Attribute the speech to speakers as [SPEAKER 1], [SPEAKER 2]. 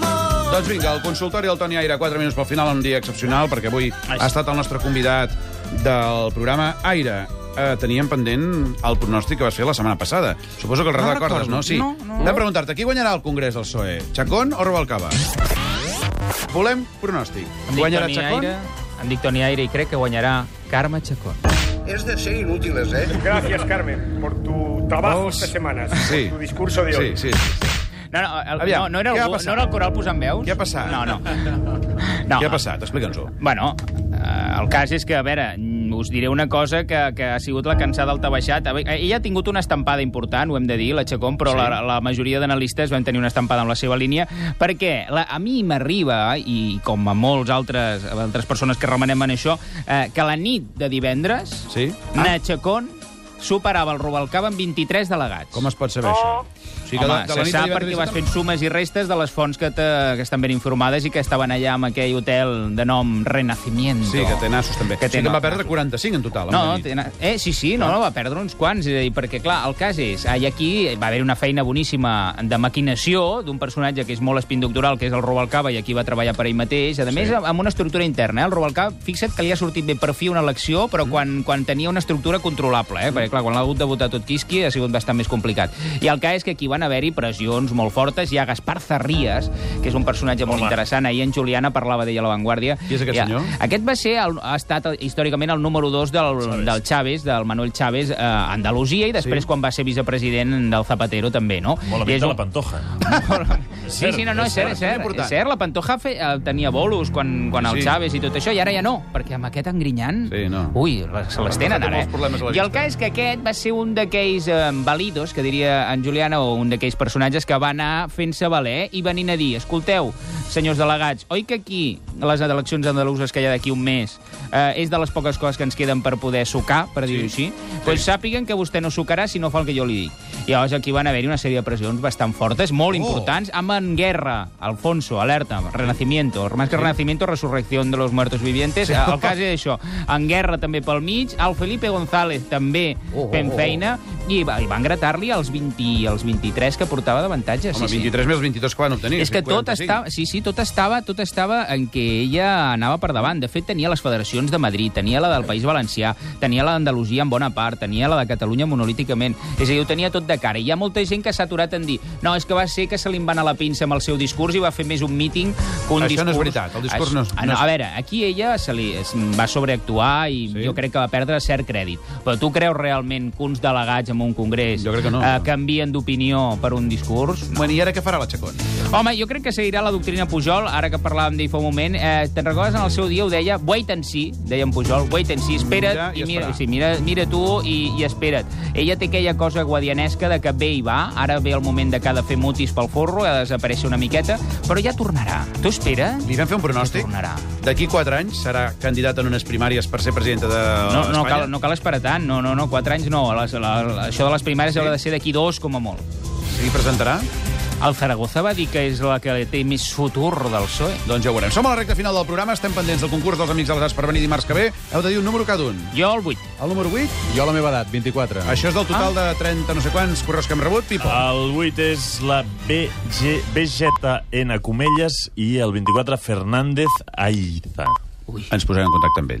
[SPEAKER 1] Doncs vinga, el consultori del Toni Aire, 4 minuts pel final, un dia excepcional, perquè avui ha estat el nostre convidat del programa Aire. Eh, teníem pendent el pronòstic que vas fer la setmana passada. Suposo que el no recordes, no? Sí. No, no. De preguntar-te, qui guanyarà el Congrés del PSOE? Chacón o Rubalcaba? Volem pronòstic.
[SPEAKER 2] Em dic
[SPEAKER 1] Guanyarà
[SPEAKER 2] Toni
[SPEAKER 1] Chacón?
[SPEAKER 2] Aire, em dic Toni Aire i crec que guanyarà Carme Chacón.
[SPEAKER 3] Es de ser inútiles, ¿eh?
[SPEAKER 4] Gracias, Carmen, por tu trabajo
[SPEAKER 1] Vamos.
[SPEAKER 4] estas semanas,
[SPEAKER 1] Sí.
[SPEAKER 4] por tu discurso de hoy.
[SPEAKER 1] Sí, sí.
[SPEAKER 2] No, no, el,
[SPEAKER 1] Aviam,
[SPEAKER 2] no, no, era
[SPEAKER 1] què va
[SPEAKER 2] el,
[SPEAKER 1] passar?
[SPEAKER 2] no era el coral posant veus?
[SPEAKER 1] Què ha passat?
[SPEAKER 2] No, no. no
[SPEAKER 1] Què ha passat? Explica'ns-ho.
[SPEAKER 2] Bueno, eh, el cas és que, a veure, mm, us diré una cosa que, que ha sigut la cansada del Tabaixat. A veure, Ella ha tingut una estampada important, ho hem de dir, la Chacón, però
[SPEAKER 1] Sí.
[SPEAKER 2] sí. la, la majoria d'analistes van tenir una estampada amb la seva línia, perquè la, a mi m'arriba, i com a molts altres, altres persones que remenem en això, eh, que la nit de divendres,
[SPEAKER 1] Sí?
[SPEAKER 2] ah. na Chacón superava el Rubalcaba amb 23 delegats.
[SPEAKER 1] Com es pot saber això? O sigui,
[SPEAKER 2] Home,
[SPEAKER 1] de- de la
[SPEAKER 2] se
[SPEAKER 1] nit
[SPEAKER 2] sap
[SPEAKER 1] de divendres
[SPEAKER 2] perquè
[SPEAKER 1] a
[SPEAKER 2] vas
[SPEAKER 1] tarda-
[SPEAKER 2] fent sumes i restes de les fonts que, te, que estan ben informades i que estaven allà amb aquell hotel de nom Renacimiento.
[SPEAKER 1] Sí, que té nassos, també.
[SPEAKER 2] Que
[SPEAKER 1] Que,
[SPEAKER 2] té
[SPEAKER 1] sí, que en va
[SPEAKER 2] nassos.
[SPEAKER 1] perdre 45 en total. en
[SPEAKER 2] No,
[SPEAKER 1] una nit.
[SPEAKER 2] té na- eh, sí, sí, no, no, va perdre uns quants, és a dir, perquè, clar, el cas és, ah, i aquí va haver una feina boníssima de maquinació d'un personatge que és molt espinductural, que és el Rubalcaba, i aquí va treballar per ell mateix, a més,
[SPEAKER 1] Sí.
[SPEAKER 2] amb una estructura interna, eh? el Rubalcaba, fixa't que li ha sortit bé per fi una elecció, però quan, quan tenia una estructura controlable, eh? perquè, clar, quan l'ha hagut de votar tot quisqui ha sigut bastant més complicat. I el cas és que aquí van haver-hi pressions molt fortes, hi ha Gaspar Zarrías, que és un personatge molt interessant, ahir en Juliana parlava d'ell a La Vanguardia.
[SPEAKER 1] Qui és aquest
[SPEAKER 2] Hi ha-
[SPEAKER 1] senyor?
[SPEAKER 2] aquest va ser, el, ha estat eh, històricament el número 2 del, del Chávez, del Manuel Chávez eh, a Andalusia i després
[SPEAKER 1] Sí.
[SPEAKER 2] sí. quan va ser vicepresident del Zapatero també, no? I
[SPEAKER 5] Molt amic
[SPEAKER 2] és
[SPEAKER 5] de
[SPEAKER 2] un-
[SPEAKER 5] la Pantoja.
[SPEAKER 2] Sí, sí, no, no, és cert, és cert. És cert la Pantoja fe, eh, tenia bolos quan, quan
[SPEAKER 1] Sí.
[SPEAKER 2] el Chávez i tot això, i ara ja no, perquè amb aquest engrinyant...
[SPEAKER 1] Sí, no.
[SPEAKER 2] Ui, les, se
[SPEAKER 1] Pantoja
[SPEAKER 2] les tenen
[SPEAKER 1] té
[SPEAKER 2] ara,
[SPEAKER 1] molts problemes a la
[SPEAKER 2] eh? I el
[SPEAKER 1] vista.
[SPEAKER 2] cas és que aquest va ser un d'aquells eh, validos, que diria en Juliana, o un d'aquells personatges que va anar fent-se valer eh? i venint a dir, escolteu, senyors delegats, oi que aquí les eleccions andaluses que hi ha d'aquí un mes eh, és de les poques coses que ens queden per poder sucar, per dir-ho
[SPEAKER 1] Sí.
[SPEAKER 2] així? Doncs pues sàpiguen que vostè no sucarà si no fa el que jo li dic. I llavors aquí van haver-hi una sèrie de pressions bastant fortes, molt
[SPEAKER 1] Oh.
[SPEAKER 2] importants, amb en guerra, Alfonso, alerta, Renacimiento, més que Renacimiento, Resurrección de los Muertos Vivientes,
[SPEAKER 1] Sí.
[SPEAKER 2] el cas és això, en guerra també pel mig, el Felipe González també
[SPEAKER 1] Oh, oh,
[SPEAKER 2] fent
[SPEAKER 1] oh.
[SPEAKER 2] feina, i, va, i van gratar-li els, 20, els 23 que portava d'avantatge.
[SPEAKER 1] Home,
[SPEAKER 2] sí, sí.
[SPEAKER 1] 23 més 22, quan obtenir?
[SPEAKER 2] És que tot estava, sí, sí, tot estava, tot estava en què ella anava per davant. De fet, tenia les federacions de Madrid, tenia la del País Valencià, tenia la d'Andalusia en bona part, tenia la de Catalunya monolíticament. És a dir, ho tenia tot de cara. I hi ha molta gent que s'ha aturat en dir no, és que va ser que se li en va anar la pinça amb el seu discurs i va fer més un míting que un
[SPEAKER 1] Això
[SPEAKER 2] discurs.
[SPEAKER 1] no és veritat, el discurs
[SPEAKER 2] Això-
[SPEAKER 1] no és-
[SPEAKER 2] Ah,
[SPEAKER 1] no
[SPEAKER 2] No,
[SPEAKER 1] és-
[SPEAKER 2] a veure, aquí ella se li es va sobreactuar i
[SPEAKER 1] Sí?
[SPEAKER 2] sí? jo crec que va perdre cert crèdit. Però tu creus realment que uns delegats en un congrés
[SPEAKER 1] Jo crec que no.
[SPEAKER 2] eh, canvien d'opinió per un discurs?
[SPEAKER 1] Bueno, i ara què farà la Chacón?
[SPEAKER 2] Home, jo crec que seguirà la doctrina Pujol, ara que parlàvem d'ell fa un moment. Eh, Te'n recordes, en el seu dia ho deia, wait and see, deia en Pujol, wait and see, espera't
[SPEAKER 1] Mira i
[SPEAKER 2] i, mira,
[SPEAKER 1] esperar.
[SPEAKER 2] sí, mira, mira tu i, i espera't. Ella té aquella cosa guadianesca de que ve i va, ara ve el moment de que ha de fer mutis pel forro, ha de desaparèixer una miqueta, però ja tornarà. Tu espera?
[SPEAKER 1] Li vam fer un pronòstic?
[SPEAKER 2] Tornarà.
[SPEAKER 1] D'aquí 4 anys serà candidat en unes primàries per ser presidenta de
[SPEAKER 2] No, no,
[SPEAKER 1] Espanya?
[SPEAKER 2] cal, no cal esperar tant, no, no, no, quatre anys no. Les, la, la, això de les primàries
[SPEAKER 1] Sí.
[SPEAKER 2] sí. haurà de ser d'aquí dos com a molt.
[SPEAKER 1] S'hi presentarà?
[SPEAKER 2] El Zaragoza va dir que és la que té més futur del PSOE.
[SPEAKER 1] Doncs ja ho veurem. Som a la recta final del programa, estem pendents del concurs dels Amics de les Arts per venir dimarts que ve. Heu de dir un número cada un.
[SPEAKER 2] Jo el vuit.
[SPEAKER 1] El número 8,
[SPEAKER 6] Jo a la meva edat, 24.
[SPEAKER 1] això és del total de 30 no sé quants correus que hem rebut, Pipo.
[SPEAKER 5] El 8 és la BG, BGN Comelles i el 24 Fernández Aiza.
[SPEAKER 1] Ens posarem en contacte amb ell.